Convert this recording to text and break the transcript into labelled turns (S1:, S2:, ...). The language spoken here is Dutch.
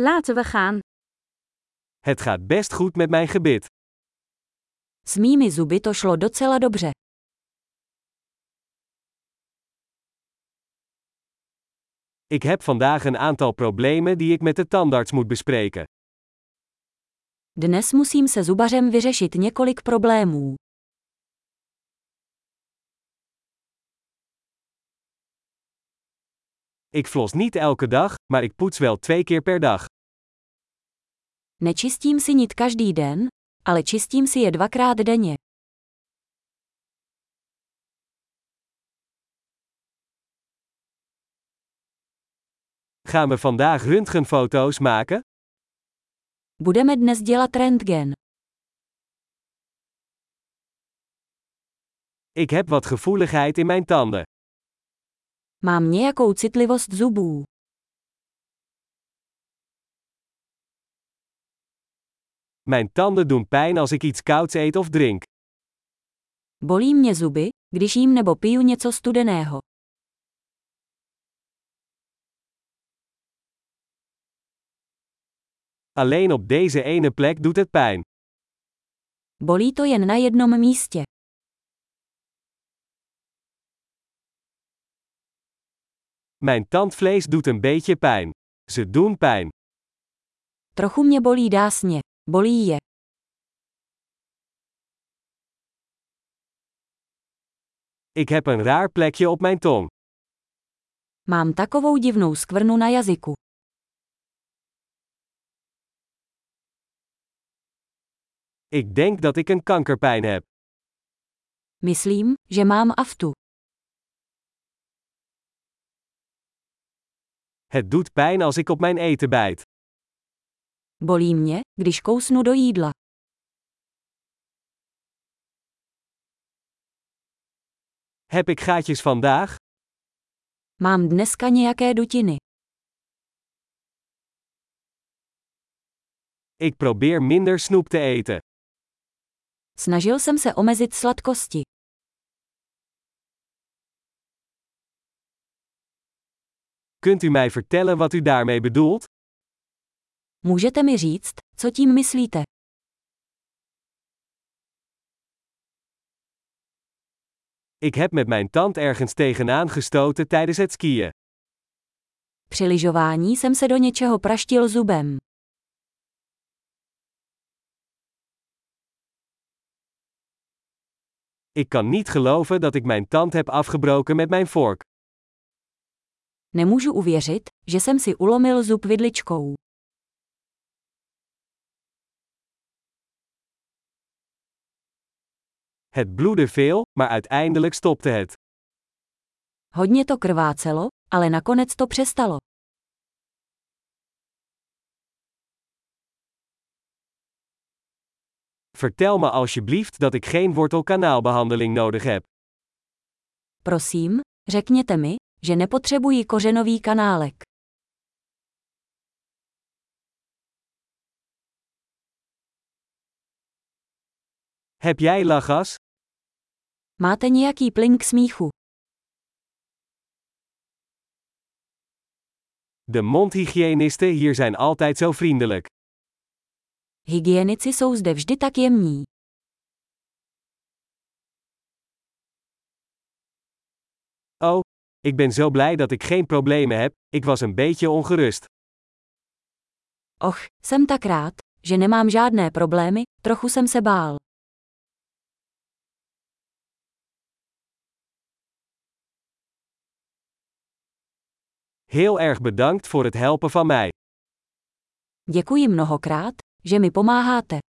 S1: Laten we gaan.
S2: Het gaat best goed met mijn gebit.
S3: S mými zuby to šlo docela dobře.
S2: Ik heb vandaag een aantal problemen die ik met de tandarts moet bespreken.
S3: Dnes musím se zubařem vyřešit několik problémů.
S2: Ik flos niet elke dag, maar ik poets wel twee keer per dag.
S3: Nečistím si nit každý den, ale čistím si je dvakrát denně.
S2: Gaan we vandaag röntgenfoto's maken?
S3: Budeme dnes dělat rentgen.
S2: Ik heb wat gevoeligheid in mijn tanden.
S3: Mám nějakou citlivost zubů.
S2: Mijn tanden doen pijn als ik iets kouds eet of drink.
S3: Bolí mě zuby, když jím nebo piju něco studeného.
S2: Alleen op deze ene plek doet het pijn.
S3: Bolí to jen na jednom místě.
S2: Mijn tandvlees doet een beetje pijn. Ze doen pijn.
S3: Trochu mě bolí dásně. Bolí je.
S2: Ik heb een raar plekje op mijn tong.
S3: Mám takovou divnou skvrnu na jazyku.
S2: Ik denk dat ik een kankerpijn heb.
S3: Myslím, že mám aftu.
S2: Het doet pijn als ik op mijn eten bijt.
S3: Bolí mě, když kousnu do jídla.
S2: Heb ik gaatjes vandaag?
S3: Mám dneska nějaké dutiny.
S2: Ik probeer minder snoep te eten.
S3: Snažil jsem se omezit sladkosti.
S2: Kunt u mij vertellen wat u daarmee bedoelt?
S3: Můžete mi říct, co tím myslíte?
S2: Ik heb met mijn tand ergens tegenaan gestoten tijdens het skiën.
S3: Při lyžování jsem se do něčeho praštil zubem.
S2: Ik kan niet geloven dat ik mijn tand heb afgebroken met mijn vork.
S3: Nemůžu uvěřit, že jsem si ulomil zub vidličkou.
S2: Het bloedde veel, maar uiteindelijk stopte het.
S3: Hodně to krvácelo, ale nakonec to přestalo.
S2: Vertel me alsjeblieft dat ik geen wortelkanaalbehandeling nodig heb.
S3: Prosím, řekněte mi, že nepotřebuji kořenový kanálek.
S2: Heb jij lachgas?
S3: Máte nějaký plyn k smíchu?
S2: De mondhygiënisten hier zijn altijd zo vriendelijk.
S3: Hygienici jsou zde vždy tak jemní.
S2: Oh, Ik ben zo blij dat ik geen problemen heb, ik was een beetje ongerust.
S3: Och, jsem tak rád, že nemám žádné problémy, trochu jsem se bál.
S2: Heel erg bedankt voor het helpen van mij.
S3: Děkuji mnohokrát, že mi pomáháte.